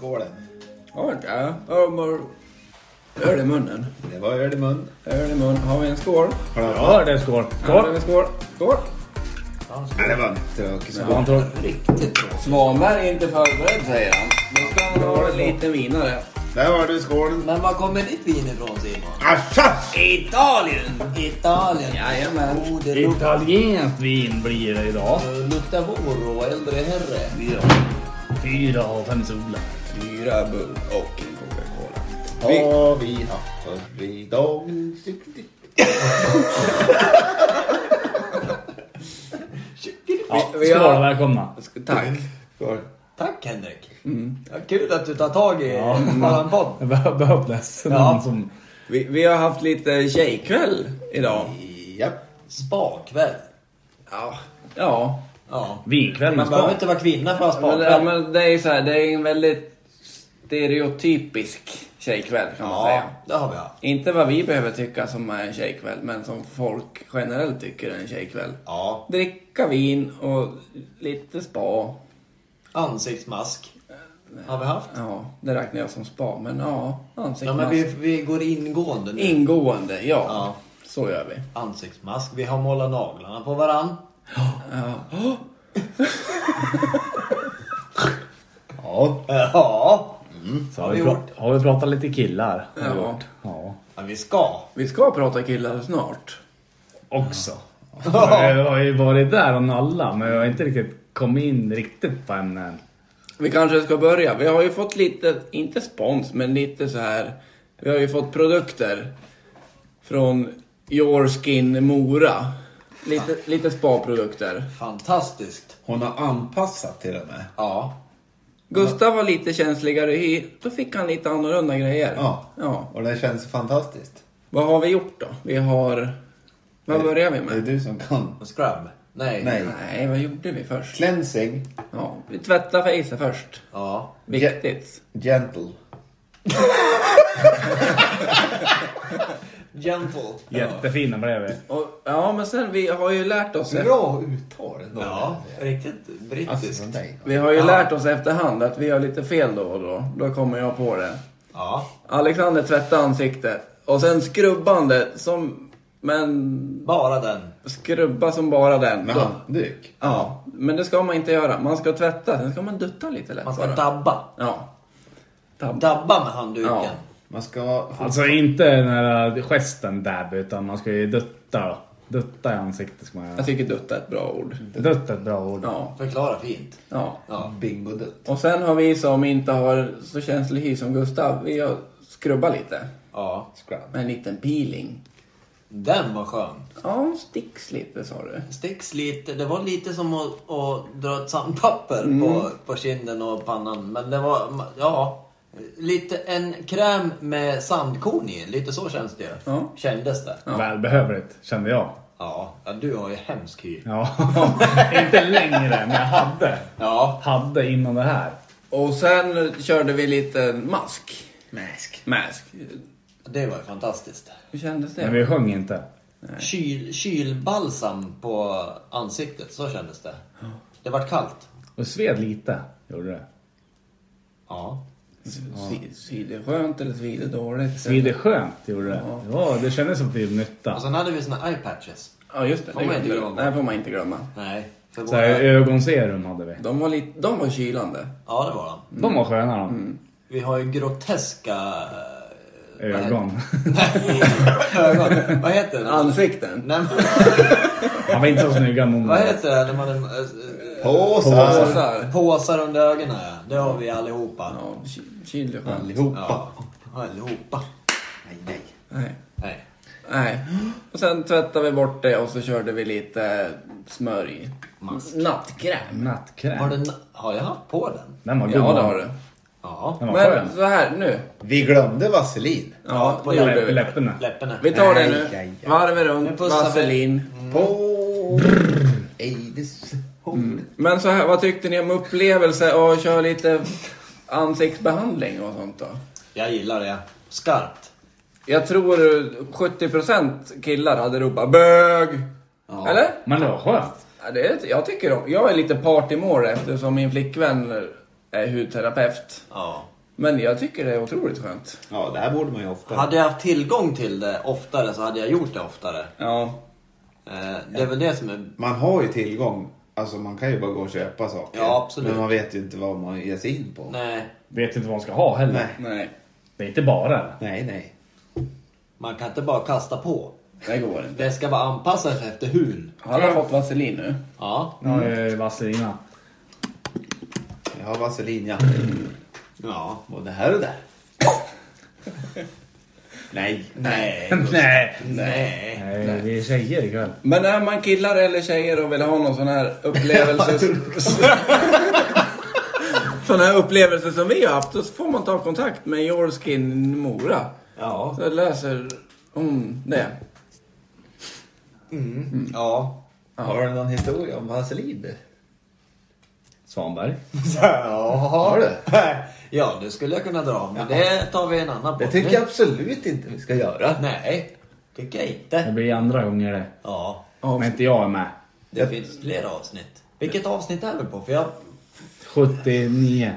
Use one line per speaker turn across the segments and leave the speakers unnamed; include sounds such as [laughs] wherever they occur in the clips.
var det.
Har inte? Ja, jag har bara öl i munnen.
Det var öl i mun.
Öl i mun. Har vi en skål?
Har du
Ja, det är skål.
Ja, det är
Skål!
en skål. Skål!
Nej, det var en tråkig skål.
Ja.
Riktigt tråkig.
Svanberg är inte förberedd säger han. Nu ska han ha en liten vinare.
Där var du skålen.
Men var kommer ditt vin ifrån Simon?
Assas!
Italien!
Mm. Italien?
Jajamän.
Oh, det luktar,
Italienskt vin blir det idag.
det luktar vår och äldre herre.
Fyra av fem solar.
Fyra bull och en Coca-Cola.
Har vi haft för idag?
Ja,
Vi- vi har-
skål och välkomna.
Tack.
Skål.
Tack Henrik. Ja, kul att du tar tag i
Ja.
[laughs] våran podd.
Det be- behövdes någon
Ja.
som...
Vi, vi har haft lite tjejkväll idag.
Japp.
Spakväll.
Ja. Ja.
Ja.
Vinkväll med
Man behöver
skål.
inte vara kvinna för att ha
Men, det-
spakväll.
men det är så här, det är en väldigt stereotypisk tjejkväll kan man
Ja,
säga.
det har vi haft.
Inte vad vi behöver tycka som är en tjejkväll, men som folk generellt tycker är en tjejkväll.
Ja.
Dricka vin och lite spa.
Ansiktsmask. Har vi haft?
Ja, det räknar jag som spa, men ja,
Ja,
ansiktsmask.
men vi, vi går ingående nu.
Ingående, ja.
Ja.
Så gör vi.
Ansiktsmask. Vi har målat naglarna på varann.
Ja.
Ja.
Ja.
Så
har
har,
vi
vi
gjort.
pra- har vi pratat lite killar? Har vi
Ja.
gjort. ja.
ja vi ska.
Vi ska prata killar snart.
Också. Jag har ju varit där om alla, men jag har inte riktigt kommit in riktigt på ämnen.
Vi kanske ska börja. Vi har ju fått lite, inte spons, men lite så här. Vi har ju fått produkter från Your Skin Mora. Lite, lite spaprodukter.
Fantastiskt.
Hon har anpassat till och med.
Ja.
Gustav var lite känsligare i hy. Då fick han lite annorlunda grejer.
Ja.
ja.
Och det känns fantastiskt.
Vad har vi gjort då? Vi har...
Eh,
Vad börjar vi
Det är
med?
du som kan.
Scrub? Nej.
Nej.
Nej, vad gjorde vi först?
Cleansing,
Ja, vi tvättade fejset först.
Ja.
Viktigt.
gentle.
Gentle.
Jättefina blev vi.
Och, ja, men sen vi har ju lärt oss...
Bra uttal ändå.
Ja, riktigt brittiskt.
Alltså, nej.
Vi har ju
Ja.
lärt oss efterhand att vi gör lite fel då och då. Då kommer jag på det.
Ja.
Alexander tvättade ansiktet och sen skrubbande som... Men
Bara den.
skrubba som bara den.
Med
Då-
handduk.
Ja, men det ska man inte göra. Man ska tvätta, sen ska man dutta lite lätt
Man ska
bara.
dabba.
Ja. Tab-
Dabba med handduken.
Ja.
Man ska...
Alltså inte den här gesten dab, utan man ska ju dutta. Dutta i ansiktet ska man göra.
Jag tycker dutta är ett bra ord.
Dött är ett bra ord.
Ja.
Förklara fint.
ja.
Ja.
Bingodutt.
Och sen har vi som inte har så känslig hy som Gustav, vi har skrubbat lite.
ja.
Scrub.
Med en liten peeling.
Den var skön.
Ja, sticks lite sa du.
Sticks lite. Det var lite som att, att dra ett sandpapper på,
Mm.
på kinden och pannan. Men det var, ja. Lite en kräm med sandkorn i. Lite så känns det ju.
Ja.
Kändes det.
Välbehövligt, kände jag.
Ja. ja. Du har ju hemsk hy.
Ja. [laughs] inte längre, men jag hade.
Ja.
Hade innan det här.
Och sen körde vi lite mask.
Mask.
Mask.
Det var ju fantastiskt.
Hur kändes det?
Men vi sjöng inte.
Kyl, kylbalsam på ansiktet, så kändes det. Det vart kallt.
Och sved lite, gjorde det.
Ja.
Svi- Svider skönt eller svider dåligt?
Svider skönt, gjorde det. Ja, det kändes som att vi gjorde nytta.
Och sen hade vi såna eye patches.
Ja, just det.
Får
det
man inte
glömde-
glömma.
Det här får man inte glömma.
Nej. För
Så här,
våra...
ögonserum hade vi.
De var, lite, de var kylande.
Ja, det var de.
De var sköna de.
Vi har ju [laughs] groteska... eh, vad
Ögon. [laughs]
heter- Ögon. Vad heter det?
Ansikten.
Nej, men,
Han var inte så snygga någon
vad
av dem.
heter det när man... eh, eh,
Påsar.
Påsar.
Påsar under ögonen, ja. Det har vi allihopa.
Ja, ky- kyler skönt.
Allihopa.
Ja. Allihopa.
Nej, nej.
Nej.
Nej.
Nej. Och sen tvättade vi bort det och så körde vi lite smörj.
Mask.
Nattkräm.
Har,
Nattkräm.
den, har jag haft på den?
Den var god.
Ja, det har du.
Ja.
Den var skön.
Men så här nu.
Vi glömde vaselin.
Ja,
på
det gjorde
Läpp-
vi.
Läpparna.
Läpparna.
Vi tar det
Aj, aj,
nu.
aj.
Varv
Nu
runt,
pussar vi.
vaselin.
Mm. På... Aids.
Men så här, vad tyckte ni om upplevelse och köra lite ansiktsbehandling och sånt då?
Jag gillar det. Skarpt.
Jag tror 70% killar hade ropat bög. Eller?
Men det var skönt.
Ja, det är, jag tycker om. Jag är lite partymål eftersom min flickvän är hudterapeut.
Ja.
Men jag tycker det är otroligt skönt.
Ja, det här borde man ju ofta.
Hade jag haft tillgång till det oftare så hade jag gjort det oftare.
Ja.
Eh, det är väl det som är...
Man har ju tillgång. Alltså man kan ju bara gå och köpa saker.
Ja, absolut.
Men man vet ju inte vad man ger sig in på.
Nej,
Vet inte vad man ska ha heller.
Nej.
Nej,
Det är inte bara.
Nej, nej.
man kan inte bara kasta på.
det går inte.
Det ska vara anpassat efter hur.
Han har fått vaselin nu.
Ja.
Nu har jag ju vaselina.
Jag har vaselin, ja.
Ja.
Både här och där. nej.
Nej.
[laughs] Nej.
Nej.
Nej, vi är tjejer ikväll.
Men är man killar eller tjejer och vill ha någon sån här [laughs] upplevelse... sån här upplevelse som vi har haft, då får man ta kontakt med Yorskin Mora.
Ja.
Så läser hon det.
Ja.
Har du någon historia om vaselin?
Svanberg.
Har du?
[laughs] Ja, det skulle jag kunna dra. Men det tar vi en annan
Det
podd.
tycker jag absolut inte vi ska göra.
Nej, tycker jag
Det
inte.
blir andra gånger det.
Ja.
Om inte jag är med.
Det
Jag-
finns flera avsnitt. Vilket avsnitt är vi på? För jag,
79.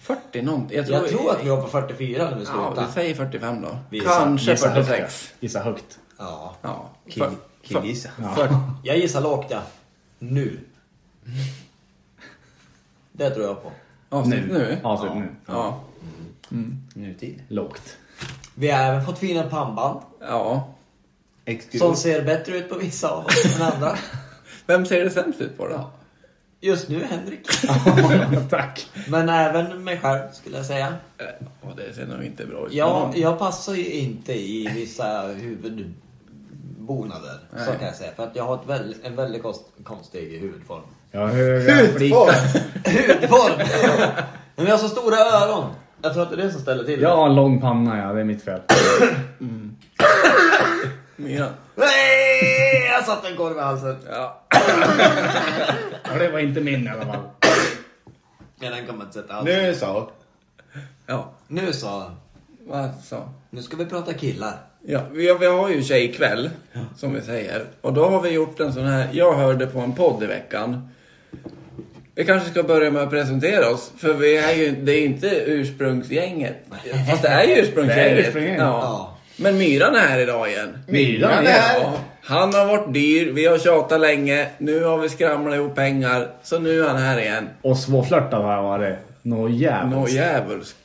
40 någonting. Jag tror,
jag tror att vi var på 44 när vi
Ja, vi
slutade.
säger 45 då.
Vi gissar-
Kanske
Gissa högt.
46.
ja. Gissa högt.
Ja.
Ja.
Kill-
För-
Killgissa.
Ja.
[laughs] för-
Jag gissar lågt ja. Nu. Det tror jag på.
Avsnitt nu?
Avslut nu.
Ja.
Nutid.
[laughs]
Lågt.
Vi har även fått fina pannband.
ja.
Som
Excuse.
ser bättre ut på vissa av oss än andra.
Vem ser det sämst ut på då?
Just nu Henrik.
Tack.
Men även mig själv skulle jag säga.
Eh, Ja, det ser nog inte bra ut.
Jag, jag passar ju inte i vissa huvudbonader. Så kan jag säga. För att jag har ett väl, en väldigt kost, konstig huvudform.
Jag har höga
Form.
Huvudform! Men jag har så stora öron. Jag tror att det är det som ställer till det.
Jag har en lång panna ja, det är mitt fel.
Mina.
Nej! Jag satte en korv i halsen.
Ja.
Ja, det var inte min i alla fall.
Ja, den kan man inte sätta alls. Nu,
Nu så.
Ja.
nu så.
Vad så?
Nu ska vi prata killar.
Ja, vi, vi har ju tjejkväll, som vi säger. Och då har vi gjort en sån här, jag hörde på en podd i veckan. Vi kanske ska börja med att presentera oss, för vi är ju, det är ju inte ursprungsgänget. Fast det är ju ursprungsgänget.
Det är ursprungsgänget.
Ja. Men Myran är här idag igen.
är
Myran
här.
Ja, han har varit dyr, vi har tjatat länge, nu har vi skramlat ihop pengar, så nu är han här igen.
Och svårflörtad har jag varit. Nå jävligt.
Nå jävulskt.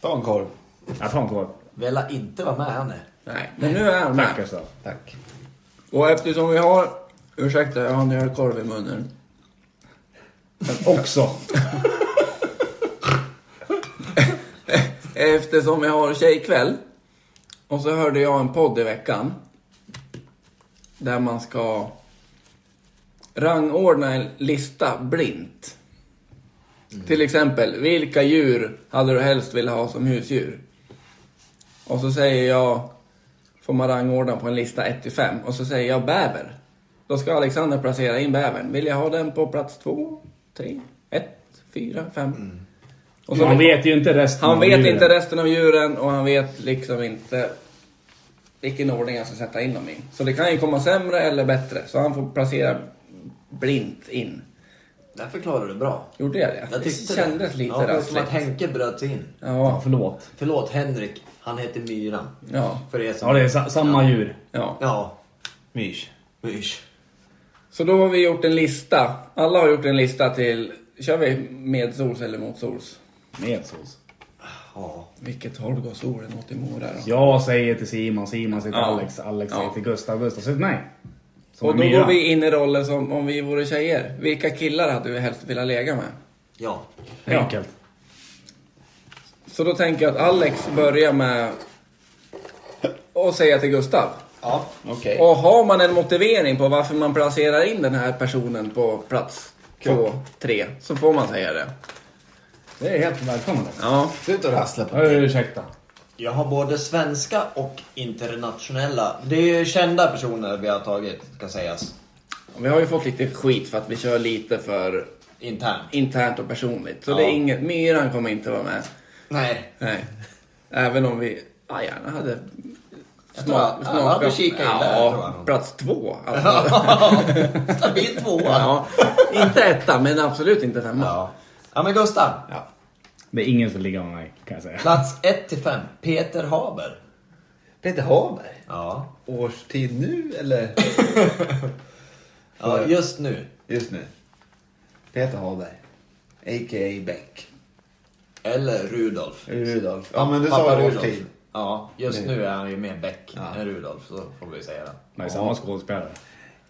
Ta en korv.
Jag tar en korv.
Vi lär inte vara med här nu.
Nej, men nu är han
Tack
med.
Gustav.
Tack.
Och eftersom vi har... Ursäkta, jag har en ölkorv i munnen.
Också.
Eftersom jag har tjejkväll och så hörde jag en podd i veckan där man ska rangordna en lista blint. Till exempel, vilka djur hade du helst velat ha som husdjur? Och så säger jag, får man rangordna på en lista 1 till 5 och så säger jag bäver. Då ska Alexander placera in bävern. Vill jag ha den på plats 2, 3, 1, 4, 5? Och så
Han vet ju inte resten
han
av
vet
djuren.
inte resten av djuren och han vet liksom inte vilken ordning han ska sätta in dem i. Så det kan ju komma sämre eller bättre. Så han får placera blint in.
Det här förklarar du bra.
Gjorde jag det?
Jag tyckte
det kändes lite
ja, det. som
rassligt.
att Henke bröt sig in.
Ja,
Ja,
förlåt.
Förlåt, Henrik. Han heter Myran.
ja,
För er som...
Ja, det är sa- samma djur.
ja.
Ja.
Mysch.
Mysch.
Så då har vi gjort en lista. Alla har gjort en lista till... Kör vi med sols eller mot sols?
Med sås.
Ja.
Vilket håll går solen åt i Mora då?
Jag säger till Simon, Simon säger till
Ja.
Alex, Alex
Ja.
säger till Gustav, Gustav säger till mig. Som
Och
en
då
myra.
går vi in i rollen som om vi vore tjejer. Vilka killar hade vi helst velat lägga med?
Ja.
Ja.
Enkelt.
Så då tänker jag att Alex börjar med att säga till Gustav.
Ja.
Okej.
Och har man en motivering på varför man placerar in den här personen på plats två, tre, så får man säga det.
Det är helt välkommet.
Ja.
Sluta rassla på
Ja, Ursäkta.
Jag har både svenska och internationella. Det är ju kända personer vi har tagit, ska sägas.
Vi har ju fått lite skit för att vi kör lite för
Internt.
internt och personligt. Så
Ja.
det är inget, Myran kommer inte vara med.
Nej. [laughs]
Nej. Även om vi ja, gärna hade
Jag tror att alla hade kikat in där, tror jag
Ja,
nog.
plats två. Alltså. [laughs]
Stabil tvåa.
ja. Inte etta, men absolut inte femma.
Ja. Ja men Gustav.
Ja.
Det är ingen som ligger med mig kan jag säga.
Plats 1 till 5, Peter Haber.
Peter Haber.
Ja.
Årstid nu eller?
ja, just nu.
Just nu. Peter Haber. A.k.a. Bäck.
Eller Rudolf.
Rudolf. Eh, Ja men du
Pappa
sa
Rudolf.
årstid.
Ja, just nu är han ju mer Beck
Ja.
än Rudolf, så får vi säga det.
Men samma skådespelare.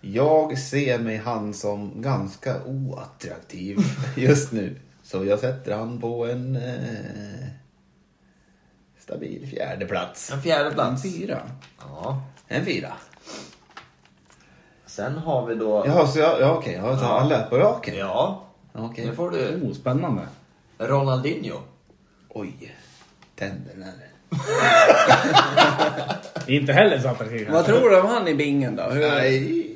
Jag ser mig han som ganska oattraktiv [laughs] just nu. Så jag sätter han på en eh, stabil fjärde plats.
En fjärde plats.
Mm.
Fyra.
Ja.
En fyra.
Sen har vi då...
Jaha, så jag, ja, okej. Jag tar alla på raken?
Ja.
Okej.
Nu får du
Oh, spännande.
Ronaldinho.
Oj. Tänderna.
Inte heller så attraktiv.
Vad tror du om han i bingen då? Hur...
Nej.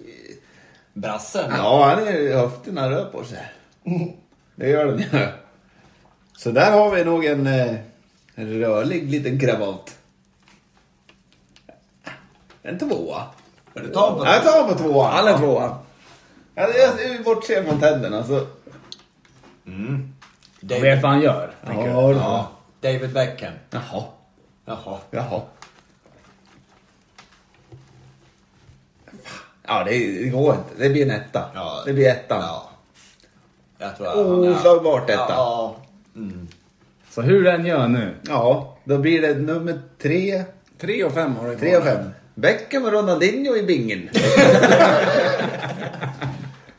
Brassen.
Ja, han är, höfterna rör på sig. Det gör den ju. Så där har vi nog en, eh, en rörlig liten kravat. En tvåa.
Du tar på
Ja, Jag tar på tvåan.
Alla tvåa.
Ja, det- jag bortser från tänderna så.
Jag vet
David,
vad han gör. tänker jag.
ja.
David Beckham.
Jaha.
Jaha.
Jaha. Ja, det, det går inte. Det blir en etta.
Ja.
Det blir ettan.
Ja. Jag tror att
Oh,
han är...
Oslagbart etta. Ja.
Ja. Mm.
Så hur den gör nu.
då blir det nummer tre,
Tre och fem har du kvar.
tre och fem. Beckham och Ronaldinho i bingen.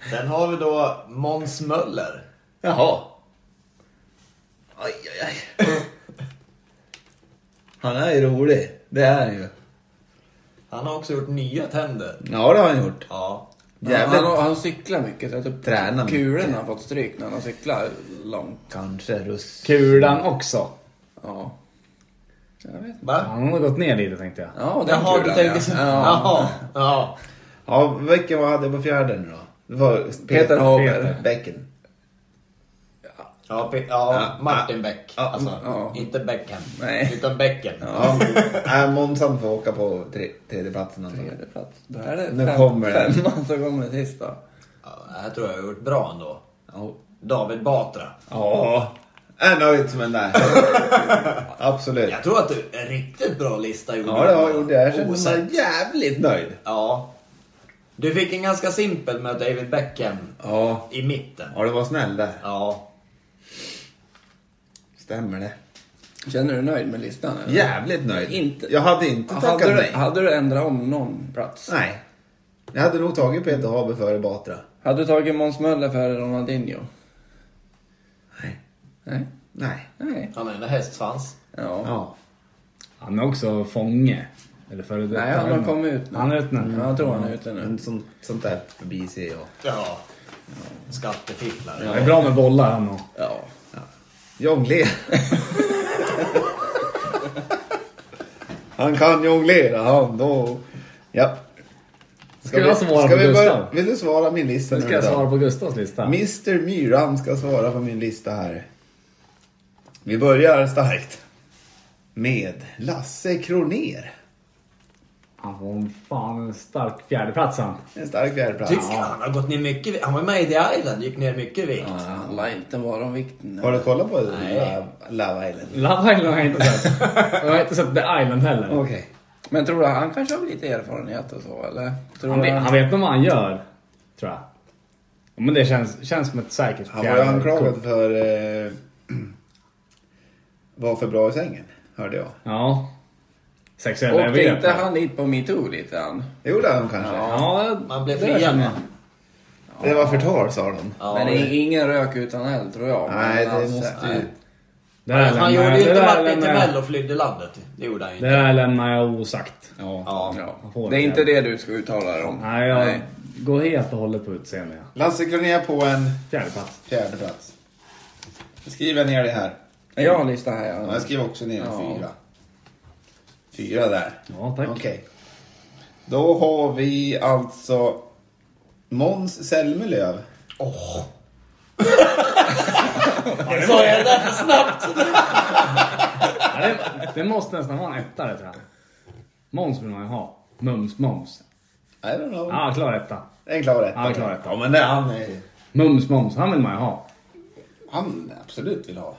Sen har vi då Måns Möller.
Jaha. Aj, aj, aj. Han är ju rolig. Det är han ju.
Han har också gjort nya tänder.
Ja, det har han gjort.
Ja.
Jävligt.
Han, han cyklar mycket. Så typ
Tränar mycket.
kulorna har fått stryk när han cyklar långt.
Kanske russ.
Kulan också.
Ja. Jag vet inte.
Va?
Han har gått ner lite tänkte jag.
Ja, den
Jaha, du
kulan,
tänker så.
ja. Ja.
Jaha. liksom- Ja.
Ja, vilken var hade jag på fjärde nu då? Det var Peter,
Peter Haber.
Peter.
Bäcken.
Ja, Pe- ja,
Ja.
Martin Beck.
Ja.
Alltså,
Ja.
inte Beckham.
Nej.
Utan Becken.
[laughs]
Ja, äh, Månsan får åka på tre, tredje platsen antagligen.
Tredje plats. Då är det
Nu
fem,
kommer den.
femman som kommer sist då.
Ja, det här tror jag har gjort bra ändå.
Ja.
David Batra.
Ja. Äh, Är nöjd som en där.
[laughs]
Absolut.
Jag tror att du en riktigt bra lista gjorde.
Ja, det har jag gjort. Jag
Oh,
känner
sen-
mig jävligt nöjd.
Ja. Du fick en ganska simpel med David Beckham
Ja.
i mitten.
Ja, du var snäll där.
Ja.
Stämmer det.
Känner du dig nöjd med listan? Eller?
Jävligt nöjd.
Inte-
Jag hade inte tackat
Hade du,
nej.
hade du ändrat om någon plats?
Nej. Jag hade nog tagit Peter Haber före Batra.
Hade du tagit Måns Möller före Ronaldinho?
Nej.
Nej.
Nej.
Nej.
Han är en hästsvans.
Ja.
Ja.
Han är också fånge. Eller före detta.
Nej, han har kommit ut nu.
Han är ute nu.
Ja, jag tror han är ute nu.
Men sånt, sånt där förbi ser jag.
Ja. Skattefifflare.
Han är bra med bollar han och.
Ja.
[laughs]
Jonglera. han kan jonglera han då. Ja.
Ska jag svara på
vi
Gustav?
börja- Vill du svara min lista
Nu ska jag
då?
svara på Gustavs lista.
Mr Myran ska svara på min lista här. Vi börjar starkt. Med Lasse Kroner.
Han får fan en stark fjärdeplats han.
En stark fjärdeplats.
Tycker han har gått ner mycket i- Han var med i The Island, gick ner mycket i vikt.
Ja, Det handlar inte bara om vikten.
Har du kollat på
Nej.
Love, Love Island?
Love Island har jag inte sett. Jag har inte sett The Island heller.
Okej.
Men tror du han kanske har lite erfarenhet och så eller? Tror
Han
du
vet, han vet nog vad han gör. Tror jag. Men det känns, känns som ett säkert
Han var ju anklagad för... Eh, [clears throat] var för bra i sängen, hörde jag.
Ja. Sexuella
Åkte
övergrepp.
inte han dit på metoo lite han?
Det gjorde han kanske.
Ja,
Man blev
det
friad
känner
va?
jag.
Det var förtal sa de.
Ja,
Men
det-
det är ingen rök utan eld tror jag.
Nej,
Men
det
alltså,
måste
nej.
ju...
Det här lämnar
Han gjorde
jag-
ju
det
inte
där
Martin
lämnar jag-
Timell och flydde landet. Det gjorde han ju
Det
inte.
här lämnar jag osagt.
Ja.
Ja.
Man
Ja.
får
Det är
det.
inte det du ska uttala dig om.
Nej, jag går helt och hållet på utseende. ja.
Lasse Kronér på en
Fjärdeplats.
fjärde plats. Nu skriver jag ner det här.
Nej, Jag har en lista här.
Ja, Jag skriver också ner en
Ja.
fyra. Fyra där.
Ja, tack.
Okej. Då har vi alltså Måns Zelmerlöw.
Åh! Sa jag det där för snabbt?
Ja, det, det måste nästan vara en etta det tror jag. Måns vill man ju ha. Mums, Måns.
I don't know.
Ja, klar etta.
En klar etta.
Ja, en klar etta.
Ja, men det, han är...
Mums, Måns. Han vill man ju ha.
Han absolut vill ha.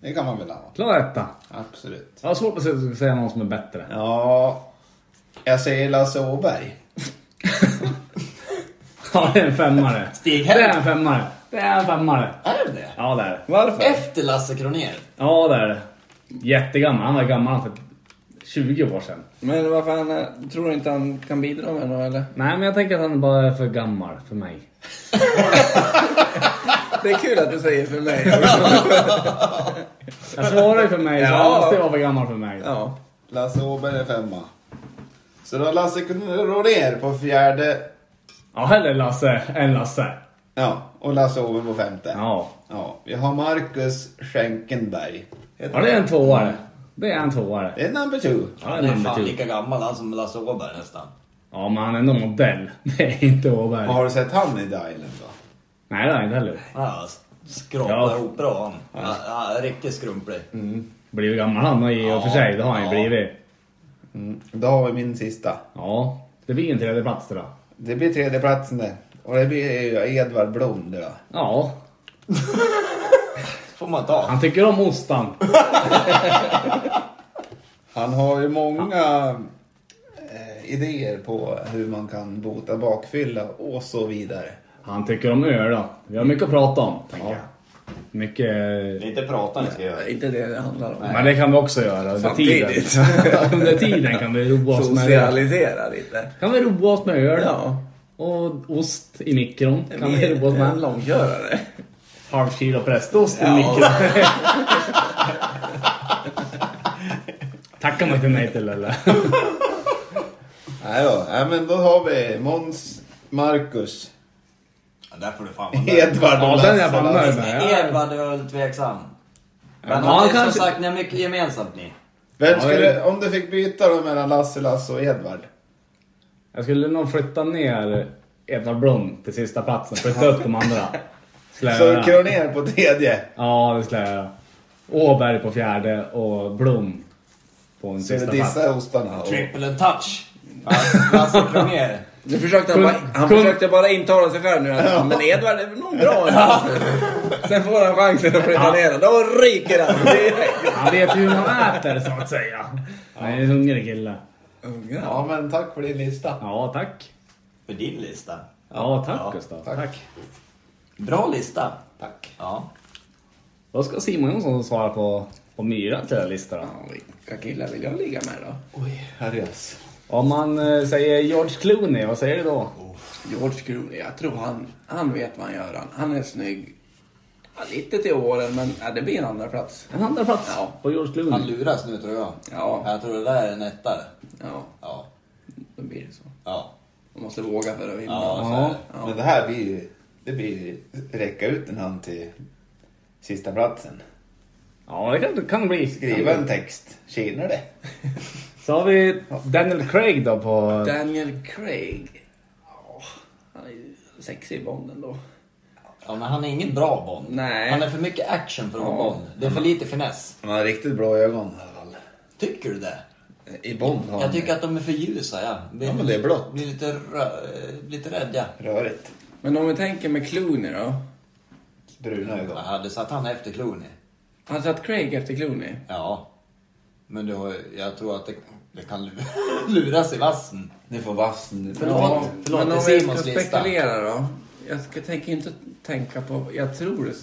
Det kan man väl ha.
Klar etta.
Absolut.
Jag har svårt att säga någon som är bättre.
Ja, jag säger Lasse Åberg.
Ja, det är en femmare.
Stig
Det är
Hell.
en femmare. Det är en femmare.
Är det det?
Ja, det är det.
Varför?
Efter Lasse Kronér.
Ja, det är det. Jättegammal. Han var gammal för 20 år sedan.
Men vad fan, eh, tror du inte han kan bidra med något eller?
Nej, men jag tänker att han bara är för gammal för mig.
Det är kul att du säger
[laughs]
för mig också.
Jag svarar ju för mig, så
Ja.
han måste ju vara för gammal för mig.
Ja.
Lasse Åberg är femma. Så då har Lasse Kronér på fjärde.
Ja, hellre Lasse än Lasse.
Ja, och Lasse Åberg på femte.
Ja.
Ja, vi har Marcus Schenkenberg. Heter
Ja, det är en tvåare. Det är en tvåare.
Det är number two.
Ja, det
Han
är
är
number
fan
two.
lika gammal han som Lasse Åberg nästan.
Ja, men han är ändå modell. [laughs] Det är inte Åberg.
Och har du sett han i The Island då?
Nej, det är han inte heller.
Ja, skrapar
Ja.
ihop bra han. Ja. Ja, riktigt skrumplig.
Blivit gammal han har i och för sig. Det har han ju
Ja.
blivit.
Då har vi min sista.
Ja. Det blir en tredje plats det då.
Det blir tredjeplatsen det. Och det blir ju Edvard Blom det då.
Ja.
får man ta.
Han tycker om ostan.
Han har ju många eh, idéer på hur man kan bota bakfylla och så vidare.
Han tycker om öl då. Vi har mycket att prata om, tänker jag. Mycket...
Det är inte prata ni ska göra.
Det är inte det det handlar om.
Men det kan vi också göra under tiden.
Samtidigt.
[laughs] under tiden kan vi roa oss med öl.
Socialisera lite.
Kan vi roa oss med öl.
Ja.
Och ost i mikron. Kan
Vi
vi roa oss
är en
med.
långkörare.
[laughs] Halv kilo prästost i
Ja.
mikron. [laughs] Tackar man inte nej till [laughs] eller?
Nej då, nej, men då har vi Måns, Marcus,
Ja, där får du fan vara nöjd.
Edvard
Ja,
och
den är jag
Lasse.
fan nöjd med. Ja.
Edvard är väl tveksam. Men
men
ja,
han
som
kanske-
sagt, ni har mycket gemensamt ni.
Vem
Ja,
skulle,
det-
om du fick byta då mellan Lasse, Lasse och Edvard?
Jag skulle nog flytta ner Edvard Blom till sista platsen. Flytta upp de [laughs] andra. Skulle jag
Så
göra.
Kronér på tredje.
Ja, det skulle jag göra. Åberg på fjärde och Blom på en
Så vi
sista plats.
dissar ostarna. Och...
Triple and touch. Ja, Lasse Kronér.
Nu försökte han,
Kung-
bara, han
kung-
försökte bara intala sig själv nu att men Edvard är väl nog bra ändå." Sen får han chansen att flytta ner den. Då ryker han direkt.
Han vet ju hur man äter så att säga. Han är en hungrig kille.
Unga.
Ja men tack för din lista.
Ja, tack.
För din lista.
Ja, tack
Ja,
Gustav.
tack.
Tack.
Bra lista.
Tack.
Ja.
Då ska Simon Jonsson svara på, på Myra till den här listan. då.
Ja, Vilka killar vill jag ligga med då?
Oj, herrejösses.
Om man eh, säger George Clooney, vad säger du då?
Oh. George Clooney, jag tror han, han vet vad han gör. Han, han är snygg. Ja, lite till åren, men ja, det blir en andra plats.
En andra plats
Ja.
på George
Han
Clooney.
luras nu tror jag.
Ja.
Jag tror det där är en ettare.
Ja,
Ja.
då blir det så.
Ja.
Man måste våga för att vinna.
Ja, så är
Ja.
det.
Men det här blir ju, det blir ju räcka ut en hand till sista platsen.
Ja, det kan, det kan bli.
Skriva en text, tjänar det.
Så har vi Daniel Craig då på...
Daniel Craig. Ja, han är ju sexig i Bond ändå.
ja, men han är ingen bra Bond.
Nej.
Han är för mycket action för att vara
Ja.
Bond. Det är för lite finess.
Han har riktigt bra ögon i alla fall.
Tycker du det?
I Bond har
Jag
han
tycker att de är för ljusa, ja. Blir,
Ja, men det är blått.
Blir lite, rö- eh, lite rädd, ja.
rörigt
Men om vi tänker med Clooney då.
bruna ögon.
Jaha, du satt han efter Clooney?
Han satt Craig efter Clooney.
Ja. Men du har, ju- jag tror att det, det kan lu- [laughs] luras i vassen.
Ni får vass nu.
Förlåt. förlåt,
men
det
om
är
vi ska
Simons lista.
spekulera då. Jag ska, tänker inte tänka på... Jag tror det...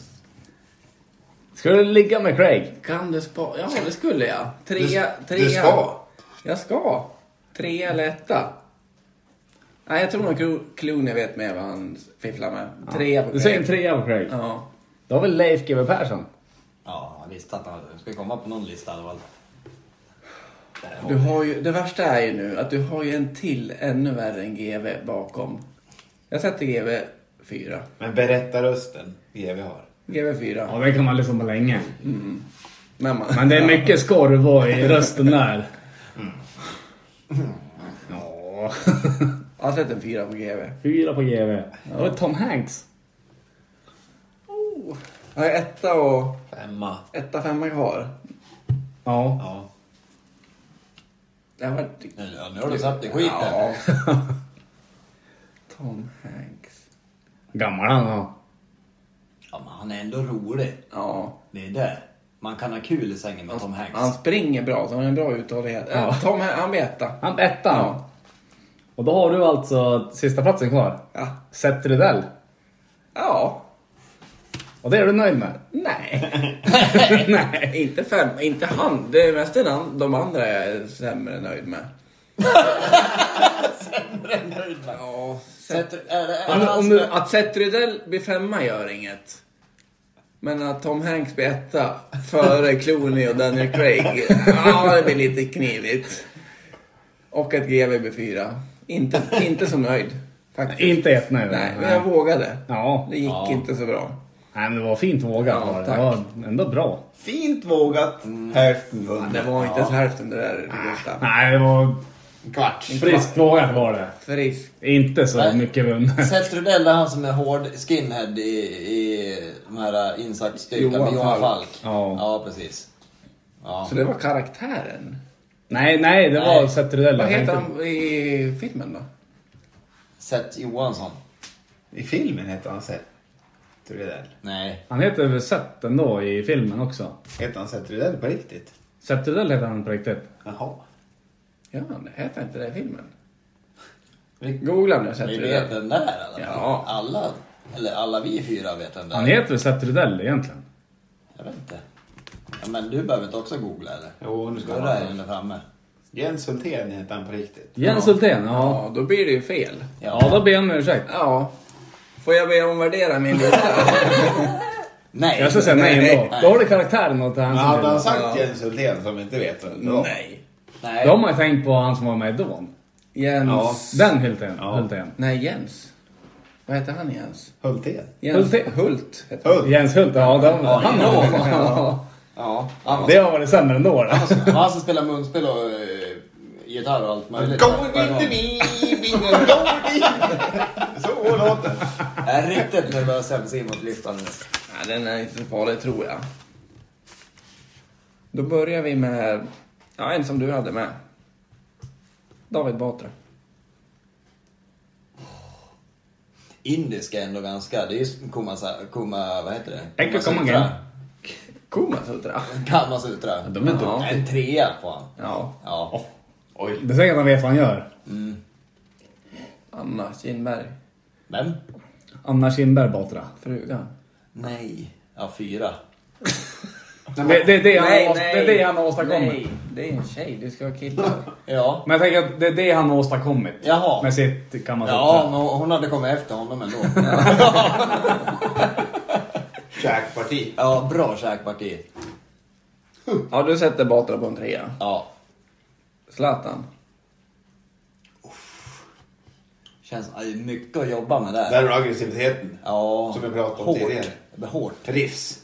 Ska du ligga med Craig?
Kan det spa... Ja, det skulle jag. Trea...
Du-
trea.
du ska.
Jag ska. Trea eller etta. Nej, jag tror nog Clo- Clooney vet mer vad han fifflar med. Trea på
Du säger en
Craig.
trea på Craig.
Ja.
Då har vi Leif GW Persson.
Ja, jag visste att han skulle komma på någon lista i alla fall.
Du har ju, det värsta är ju nu att du har ju en till ännu värre än GV bakom. Jag sätter GV 4.
Men berätta rösten GV har.
GV 4.
Ja, den kan man lyssna på länge.
När man,
Men det är mycket skorv och i rösten där. Ja.
Jag har sett en 4 på GV.
Fyra på GV. Och Tom Hanks.
Jag har etta och
Femma.
etta femma kvar.
Ja.
Ja.
Det har varit...
Nu, ja, nu har du satt i skiten.
Ja.
[laughs]
Tom Hanks.
Gammal han var.
Ja, men han är ändå rolig.
Ja.
Det är det. Man kan ha kul i sängen med Tom
Han
Hanks.
springer bra, så han har en bra uthållighet. Eh,
Ja.
Tom, han blir etta.
Han ettan.
Ja.
Och då har du alltså sista platsen kvar.
Ja.
Seth Rydell.
ja.
Och det är du nöjd med?
Nej. [laughs] Nej. [laughs] Inte fem. Inte han. Det är mest den an- de andra jag är sämre nöjd med. Ja.
Sätter, är det, alltså- är
Om, om
det hans,
du, att Seth Rydell blir femma gör inget. Men att Tom Hanks blir etta
[laughs]
före Clooney och Daniel Craig. Ja, det blir lite knivigt. Och att GW blir fyra. Inte, inte så nöjd. Faktiskt.
Inte ett nöjd.
Nej, men jag vågade.
Ja.
Det gick
Ja.
inte så bra.
Nej, men det var fint vågat.
Ja,
var det.
tack.
det var ändå bra.
Fint vågat. Hälften
Det
vunnet.
var inte ens hälften det där. Gustav.
Nej, det var
Kvarts.
friskt vågat var det.
Frisk.
Inte så
Nej.
[laughs]
mycket vunnet.
Seth Rydell är han som är hård skinhead i, i de här insatsstyrkan
Johan
med Johan
Falk.
Falk.
Ja.
ja precis. Ja.
Så det var karaktären.
Nej, nej, det var
Nej.
Seth Rydell.
Vad
jag
heter
tänkte-
han i filmen då?
Seth Johansson.
I filmen heter han Seth Rydell.
Nej.
Han heter väl Seth ändå i filmen också.
Heter han Seth Rydell på riktigt?
Seth Rydell heter han på riktigt.
Jaha.
Ja, det heter inte det i filmen. Googla nu så
Vi
heter
vet
det.
vem det är i alla fall.
Ja.
Alla, eller alla vi fyra vet vem det
Han
är.
heter väl Seth Rydell egentligen?
Jag vet inte. Ja, men du behöver inte också googla eller?
Jo, nu ska
Förra är
man...
den framme.
Jens Hultén heter han på riktigt.
Jens Hultén, ja.
Ja, då blir det ju fel.
Ja, då ber jag om ursäkt.
Ja. Får jag be omvärdera min lista?
Nej.
Jag ska säga nej
Nej.
ändå. Då har du karaktären åt han
Men
som
hade han
filmen.
sagt
Ja.
Jens Hultén som inte vet vem det var?
Nej.
nej.
Då har man ju tänkt på han som var med i Dawn.
Jens.
Ja.
Den Hultén.
Ja.
Hultén.
Nej, Jens. Vad heter han Jens?
Hultén?
Jens
Hult-
Hult. heter
Hult?
Jens Hult, ja. Den, han
ja.
var ja.
Ja. Han var
Det har varit sämre ändå. Då.
[laughs] Han var som spelar alltså, munspel och eh, gitarr och allt möjligt.
Go
På en gång.
with me, bingo, go with me. Så låter det.
Jag är riktigt nervös när jag ser mot listan nu.
Nej, den är inte så farlig tror jag. Då börjar vi med ja, en som du hade med. David Batra.
Indiska är ändå ganska... Det är ju Kuma... Kuma vad heter det?
Echo
Kama
Kamangen.
Sutra.
Kumasutra.
Kama Sutra.
de är duktiga.
Ja, En trea på han.
Ja,
Ja.
Det är säkert att han vet vad han gör.
Anna Kinberg.
Vem?
Anna Kinberg Batra.
Frugan.
Nej. Ja, fyra.
Det, det, är det, han,
Nej,
ås-
nej.
det är det han har åstadkommit.
Nej, det är en tjej. Du ska ha killar.
Ja.
Men jag tänker att det är det han har åstadkommit.
Jaha.
Med sitt kan man
Ja,
säga.
men hon hade kommit efter honom ändå.
Käkparti.
Ja, bra käkparti.
[laughs] ja, du sätter Batra på en trea.
Ja.
Zlatan. [laughs]
Känns... ja, det är Mycket att jobba med
Där
där.
har du aggressiviteten.
Ja.
Som vi pratade om
Hårt.
tidigare.
Det är Hårt.
Riffs.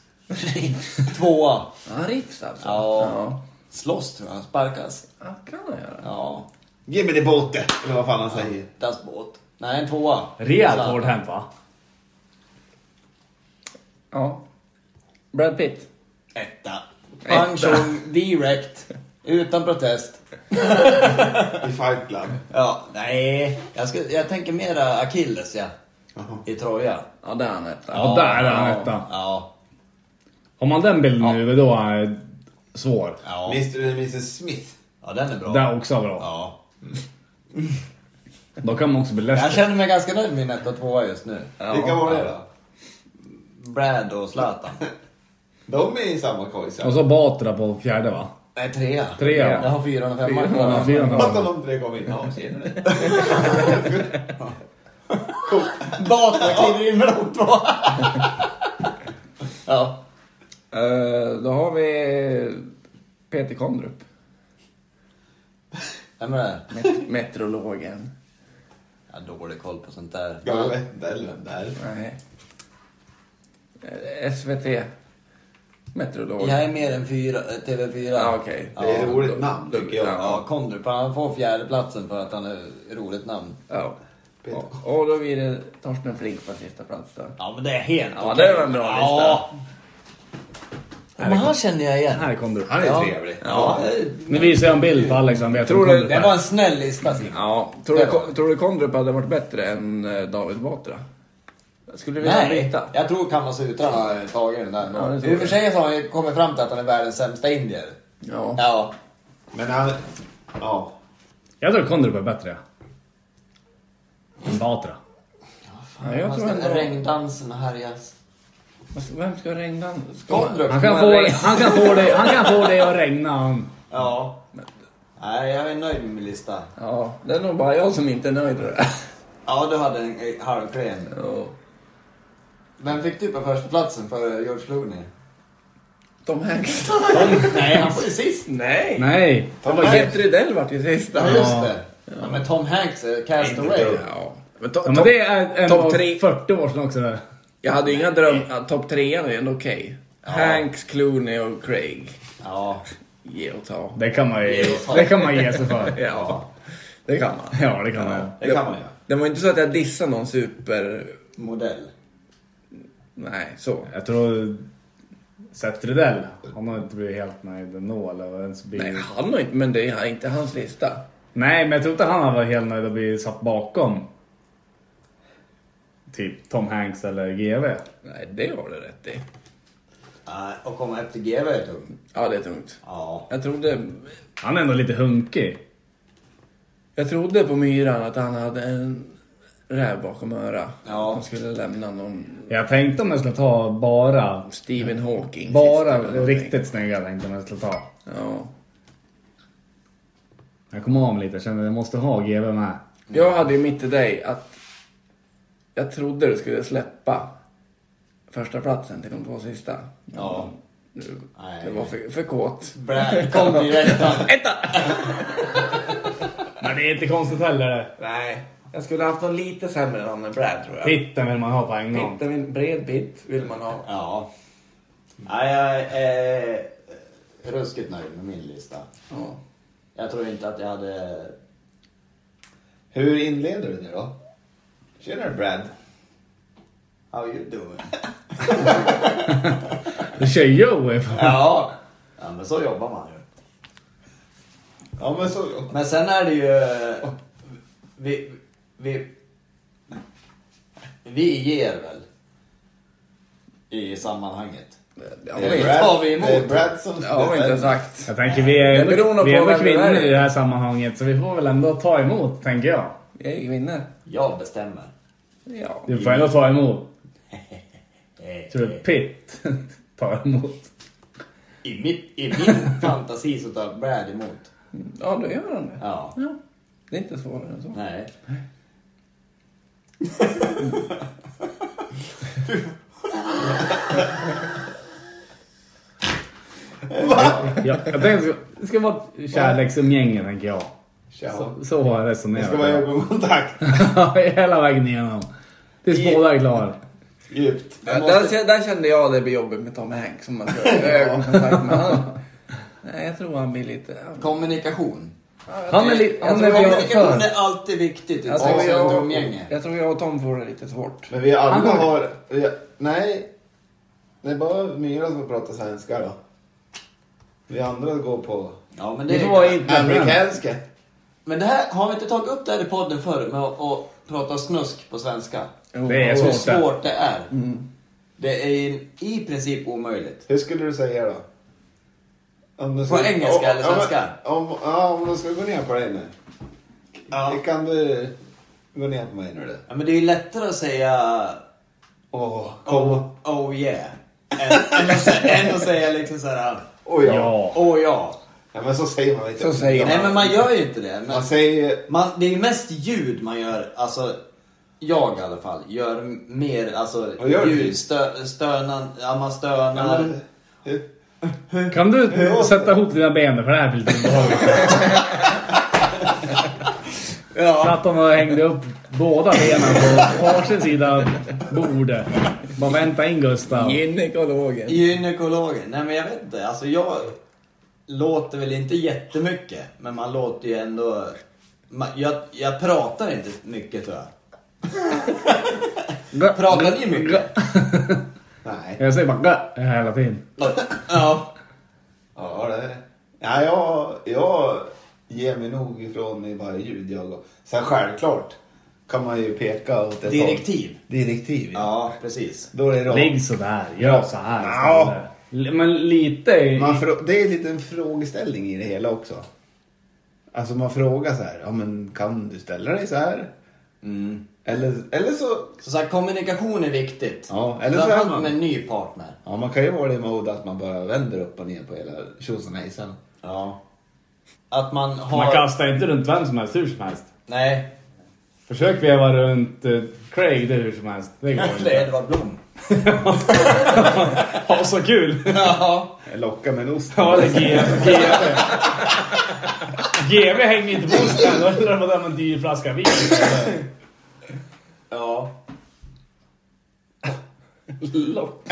Tvåa.
Han riffs alltså?
Ja. Slåss tror jag. Sparkas.
Ja, han kan han göra.
Ja.
Ge mig det båte. Eller vad fan han säger.
Das Boot. Nej, en tvåa.
Rejält
Zlatan.
hårt hänt va?
Ja. Brad Pitt.
Etta. Pang Chong direkt. Utan protest.
I Fight Club.
Ja, nej. Jag, ska, jag tänker mera Achilles, ja. I Troja.
Ja, där är han etta.
Ja, där är han etta.
Ja.
Har man den bilden nu huvudet då är han svår.
Ja.
Mr och Mrs Smith.
ja, den är bra.
Det är också bra.
Ja.
Då kan man också bli
Jag
ledsen.
känner mig ganska nöjd med min etta och tvåa just nu.
Vilka var det då?
Brad och Zlatan.
De är i samma koj. så.
Och så Batra på fjärde va?
Nej, trea.
Trea.
Jag har fyran och femman
Ja,
kvar.
fyran har
Fattar
han.
de tre kom in. Ja, tjenare.
Batra kliver in med de [laughs] två. ja.
Eh, då har vi Peter [laughs] Kondrup.
Vem är det?
Met- metrologen.
Jag har dålig koll på sånt där.
Jag vet inte heller vem det är.
Nej. Eh, SVT. Metrolog.
Jag är mer än fyra, eh, TV4.
Ja, Ah, okej.
Det är ett
Ja,
roligt
då-
namn
då-
tycker jag.
Ja, Kondrup. Han får fjärdeplatsen för att han är ett roligt namn.
Ja.
Peter.
Och, och då blir det Torsten Flink på sista plats då.
Ja, men det är helt
Ja, det var en bra
Ja. Men han känner jag igen.
Här kom du.
Han är
Ja.
trevlig.
Ja.
Nu visar jag en bild på Alex han vet.
Tror du-
Det var en snäll lista, Simon.
Ja. Tror du, tror du Kondrup hade varit bättre än eh, David Batra? Skulle du vilja
Nej,
veta?
jag tror Kamasutrarna har tagit den där.
Ja, det tror
I och för
jag.
sig så har han ju kommit fram till att han är världens sämsta indier.
Ja.
Ja.
Men han... Ja.
Jag tror Kondrup är bättre. Än Batra.
ja jag tror ändå...
Regndansen härjas.
Vem ska regna? Ska man-
Gondrup,
Han kan, få det, han, kan få det, han kan få det att regna han.
Ja. Nej, jag är nöjd med min lista.
Ja, det är nog bara jag som inte är nöjd med det.
Ja, du hade en eh, halvklen.
Ja.
Vem fick du på första platsen för George Clooney?
Tom Hanks.
Nej, han var ju sist.
[laughs] Nej!
Nej.
Det var Jeff Rydell vart ju sista.
Ja, just det. Ja, men Tom Hanks är Cast Away.
Ja. Men, to,
Ja, men det är en
Topp
av
tre.
40 år sedan också. Det.
Jag hade ju inga drömmar. Topp trean är ju ändå okej. Hanks, Clooney och Craig.
Ja.
Ge och ta.
det kan man ju det kan man ge sig för.
Ja, det kan man.
Ja, det kan man.
Det kan man ju.
Det var inte så att jag dissade någon super...
Modell.
Nej, så.
Mm.
Jag tror Seth Rydell, han har inte blivit helt nöjd ändå. Eller ens blivit...
Nej,
Nej.
han har inte... Men det är inte hans lista.
men jag tror inte han har varit helt nöjd att bli satt bakom. Typ Tom Hanks eller GV.
Nej, det har du rätt i.
Nej, och komma efter GW är tungt.
Ja, det är tungt.
Ja.
Jag trodde,
Han är ändå lite hunkig.
jag trodde på myran att han hade en räv bakom öra.
Ja.
Att Han skulle lämna någon
Jag tänkte om jag skulle ta bara,
Stephen Hawking.
bara
sist eller någonting.
riktigt snygga tänkte jag om jag skulle ta.
Ja.
Jag kom av mig lite, jag kände att jag måste ha GV med.
Jag hade ju mitt i dig att jag trodde du skulle släppa första platsen till de två sista.
Ja.
Du,
Nej.
du var för, för kåt.
Brä, kom direkt.
Men det är inte konstigt heller det.
Nej, jag skulle haft någon lite sämre än en Brad tror jag.
Pitten vill man ha på en gång.
Pitt, en bred bit vill man ha.
Ja. Nej, jag är eh, ruskigt nöjd med min lista.
Ja.
Jag tror inte att jag hade...
Hur inleder du det då? Tjenare Brad.
How you
[laughs]
doing?
Du kör Joey på.
Ja. ja, men så jobbar man ju.
Ja men så...
Men sen är det ju... eh, Vi... Vi, vi ger väl? I sammanhanget.
Det har
Det
vi
är
inte,
bra. tar vi emot.
det är Brad som
det har vi inte sagt.
Jag tänker vi är
Det beror nog
ändå, vi
på
är ändå
vem du
kvinnor
är.
i det här sammanhanget så vi får väl ändå ta emot tänker jag.
Vi är ju kvinnor.
Jag bestämmer.
Ja.
Du får ändå ta emot.
Eh,
Tror du Pitt [laughs] tar emot?
I, mitt, I
[laughs]
min fantasi så tar Brad emot.
ja, då gör han det.
Ja.
Ja. Det är inte svårare än så.
Nej.
Ja, jag tänkte det ska vara ett kärleksumgänge tänker jag.
Tja.
Så har jag
Det
resonerat.
ska vara
[laughs]
ögonkontakt.
Hela vägen igenom. Tills
I-
båda är klara.
Djupt.
Ja,
Jag måste...
där, där kände jag det blir jobbigt med Tom Hanks. Om man ska ha ögonkontakt med han. [laughs] Nej, jag tror han blir lite...
Kommunikation.
Han är lite... Han är
tror-
väl
Kommunikation
för...
är alltid viktigt i ett
Jag tror,
avseende och
jag,
umgänge.
jag tror jag och Tom får det lite svårt.
Men vi alla
Han har-
har... Vi... Nej. Det är bara Myra som pratar svenska då. Vi andra går på
Ja, men det
Det får vara
är
internationellt.
amerikanska.
Men det här, har vi inte tagit upp det här i podden förr med att, att prata snusk på svenska?
Det
Oh.
är
Hur
svårt det.
svårt det är. Det är i princip omöjligt.
Hur skulle du säga då? Om du
På engelska
om-
eller
om-
svenska?
Om, ja, om du ska gå ner på dig nu.
Ja.
Kan du gå ner på mig nu du?
Ja, men det är ju lättare att säga
Åh, kom.
oh yeah. Än, än, att, sä- än att säga liksom såhär
Åh ja. ja.
Ja.
oh ja.
men så säger man inte.
Så säger
Nej men man gör ju inte det. Men
Man säger...
man, det är ju mest ljud man gör, alltså jag i alla fall, gör m- mer alltså
Vad gör du?
ljud, stö, stönan, ja man stönar.
men- hur-
Kan du sätta ihop dina ben för det här blir lite obehagligt.
Ja.
Satt de och hängde upp båda benen på varsin sida av bordet. Bara vänta in Gustav.
Gynekologen.
Gynekologen, nej men jag vet inte, alltså jag låter väl inte jättemycket, men man låter ju ändå, man, jag, jag pratar inte mycket tror jag. Pratar ni mycket?
Nej.
Jag säger bara gö hela tiden.
Ja.
Ja, det... Ja, jag, jag ger mig nog ifrån mig bara ljud jag. Sen självklart kan man ju peka åt ett
Direktiv.
håll. Direktiv, ja.
[laughs] Ja, precis.
Då är det rakt.
Ligg sådär, gör så här
Ja.
istället. L- Men lite... i-
Man frå- det är en liten frågeställning i det hela också. Alltså man frågar så här, ja men kan du ställa dig så här? Eller, eller så
Mm. Så, så här, kommunikation är viktigt.
Ja, eller så är
Framförallt
man-
med en ny partner.
Ja, man kan ju vara i mode att man bara vänder upp och ner på hela tjosan och hejsan.
Ja. Att man har...
Man kastar inte runt vem som helst hur som helst.
Nej,
Försök veva runt eh, Craig det hur som helst. Det går
det är
inte.
Edvard Blom.
Ha så kul!
Ja.
Locka med en ost.
Ja, det är GV. GV hänger inte på osten. Då häller de där en dyr flaska vin.
Ja. [laughs]
Lock.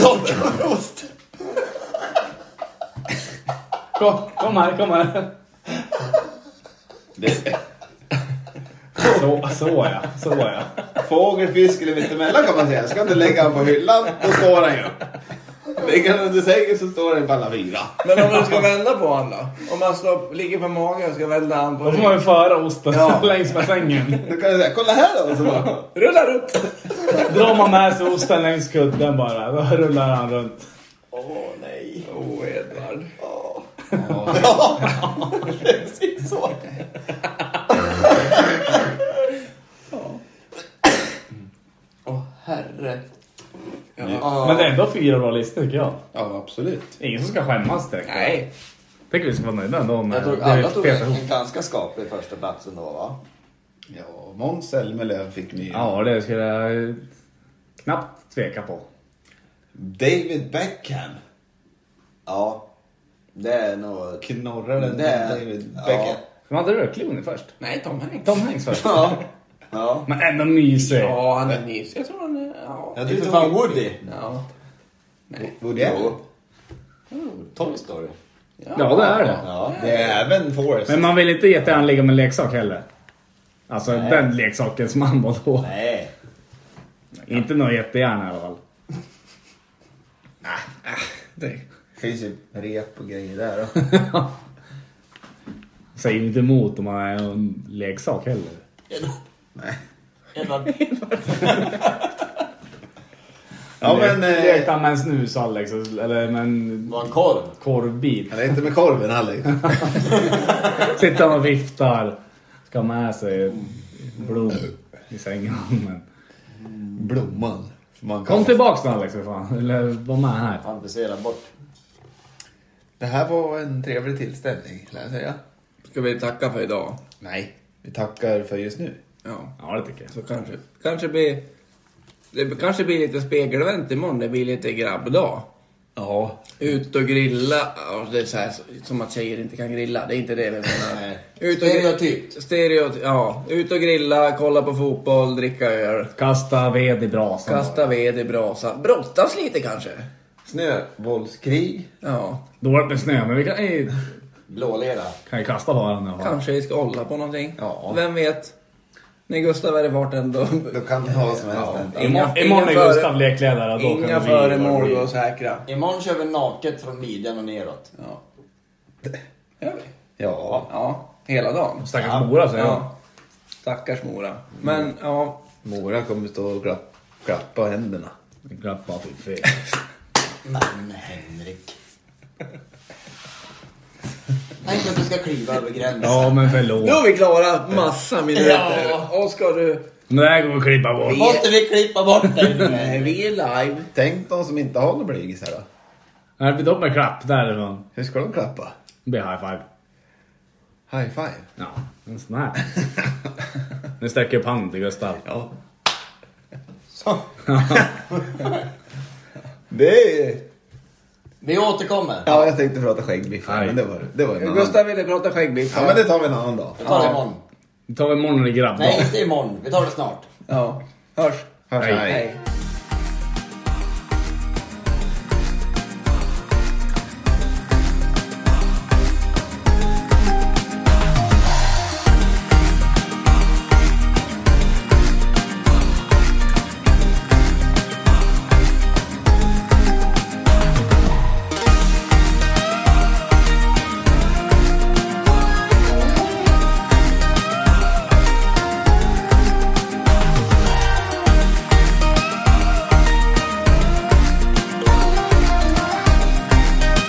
Lockost.
Kom, kom här, kom här. Så, så ja, så ja.
Fågel, fisk eller mittemellan kan man säga. Ska inte lägga den på hyllan, då står den ju. Lägger den under sängen så står den på alla fyra.
Men om du ska vända på honom då? Om han står, ligger på magen och ska vända han på
Då får man ju föra osten
Ja.
[laughs] längs med sängen.
Då kan du säga, kolla här då! Och Så bara,
Rullar upp!
Drar man med sig osten längs kudden bara, då rullar han runt.
Åh nej.
Åh, oh, Edvard.
Ja, precis så. Åh herre. Ja.
Men det är ändå fyra bra listor tycker jag.
ja, absolut.
Ingen som ska skämmas direkt.
Nej.
Tänker vi ska vara nöjda ändå med
Jag tror
det vi
alla tog
petar ihop.
en ganska skaplig första plats ändå va?
Ja, Måns Zelmerlöw fick ni ju.
Ja, det skulle jag knappt tveka på.
David Beckham.
Ja. Det är nog...
Knorraren
Det är-
David Beckham.
Vem hade du? Clooney först?
Nej, Tom Hanks.
Tom Hanks först?
Ja. Ja.
Men ändå mysig.
Ja, han är nys. Jag tror han är... Ja.
Det är för fan Woody.
Ja.
Woody Allen.
Oh, Toy Story.
Ja, det är det.
Ja.
Det är även Forrest.
Men man vill inte jättegärna ligga med en leksak heller. Alltså den leksaken som han var då.
Nej.
Inte något jättegärna i alla fall. Nej.
finns ju rep och grejer där. då.
[laughs] Säger ju inte emot om man är en leksak heller.
Edvard.
Ja, men...
Lekte
Eh,
han med en snus Alex? Eller med en
Var en korv.
korvbit?
han är inte med korven Alex.
Sitter han och viftar. Ska ha med sig blod i sängen.
Blomman. som man kallar
Kom
den.
tillbaks nu Alex för fan. Eller var med här.
Fantisera bort.
Det här var en trevlig tillställning, lär jag säga.
Ska vi tacka för idag?
Nej. Vi tackar för just nu.
Ja.
Ja, det tycker jag.
Så kanske, kanske blir... Det kanske blir lite spegelvänt imorgon. Det blir lite grabbdag.
Ja.
Ut och grilla. Ja, Det är så här, som att tjejer inte kan grilla. Det är inte det vi menar. [laughs]
Nej.
Ut och
Stereotypt.
Stereotyp. Ja. Ut och grilla, kolla på fotboll, dricka öl.
Kasta ved i brasan.
Kasta ved i brasan. Brottas lite kanske.
Snövåldskrig.
Ja.
Dåligt med snö, men vi kan, eh,
Blålera.
kan ju kasta varan i alla fall.
Kanske vi ska hålla på någonting.
Ja.
Vem vet? När Gustav är i
[laughs]
farten då...
Då kan det ha vad som helst hända.
Inga,
Imorgon
inga
är Gustav lekledare. då
Inga
kan det bli-
föremål går att säkra.
Imorgon kör vi naket från midjan och neråt.
Ja. Gör vi?
Ja.
Ja, hela dagen.
Stackars Mora säger jag.
Ja. Stackars Mora. Men ja,
Mora kommer stå och klapp, klappa händerna.
Glapp bara för fel.
Men Henrik. Tänk att du ska kliva över gränsen.
Ja, men
nu har
förlåt.
vi klarat massa minuter. Och ska du...
Men det här går att klippa bort.
Måste vi klippa bort dig nu?
Nej, vi är live.
Tänk de som inte har några blygis här då.
Här blir de med klapp därifrån.
Hur ska de klappa?
Det blir high five.
High five.
Ja, en sån här. Nu sträcker jag upp handen till Gustav.
Ja. Så. [laughs] det är...
Vi återkommer.
Ja, jag tänkte prata skäggbiff.
Nej.
Men det var, det var en annan...
Gustav ville prata skäggbiffar.
Ja, men det tar vi en annan dag.
Vi tar det imorgon.
Nu tar vi imorgon i grabbdag.
Nej, inte imorgon. Vi tar det snart.
ja. Hörs.
Hörs,
Hej.
hej.
Hej.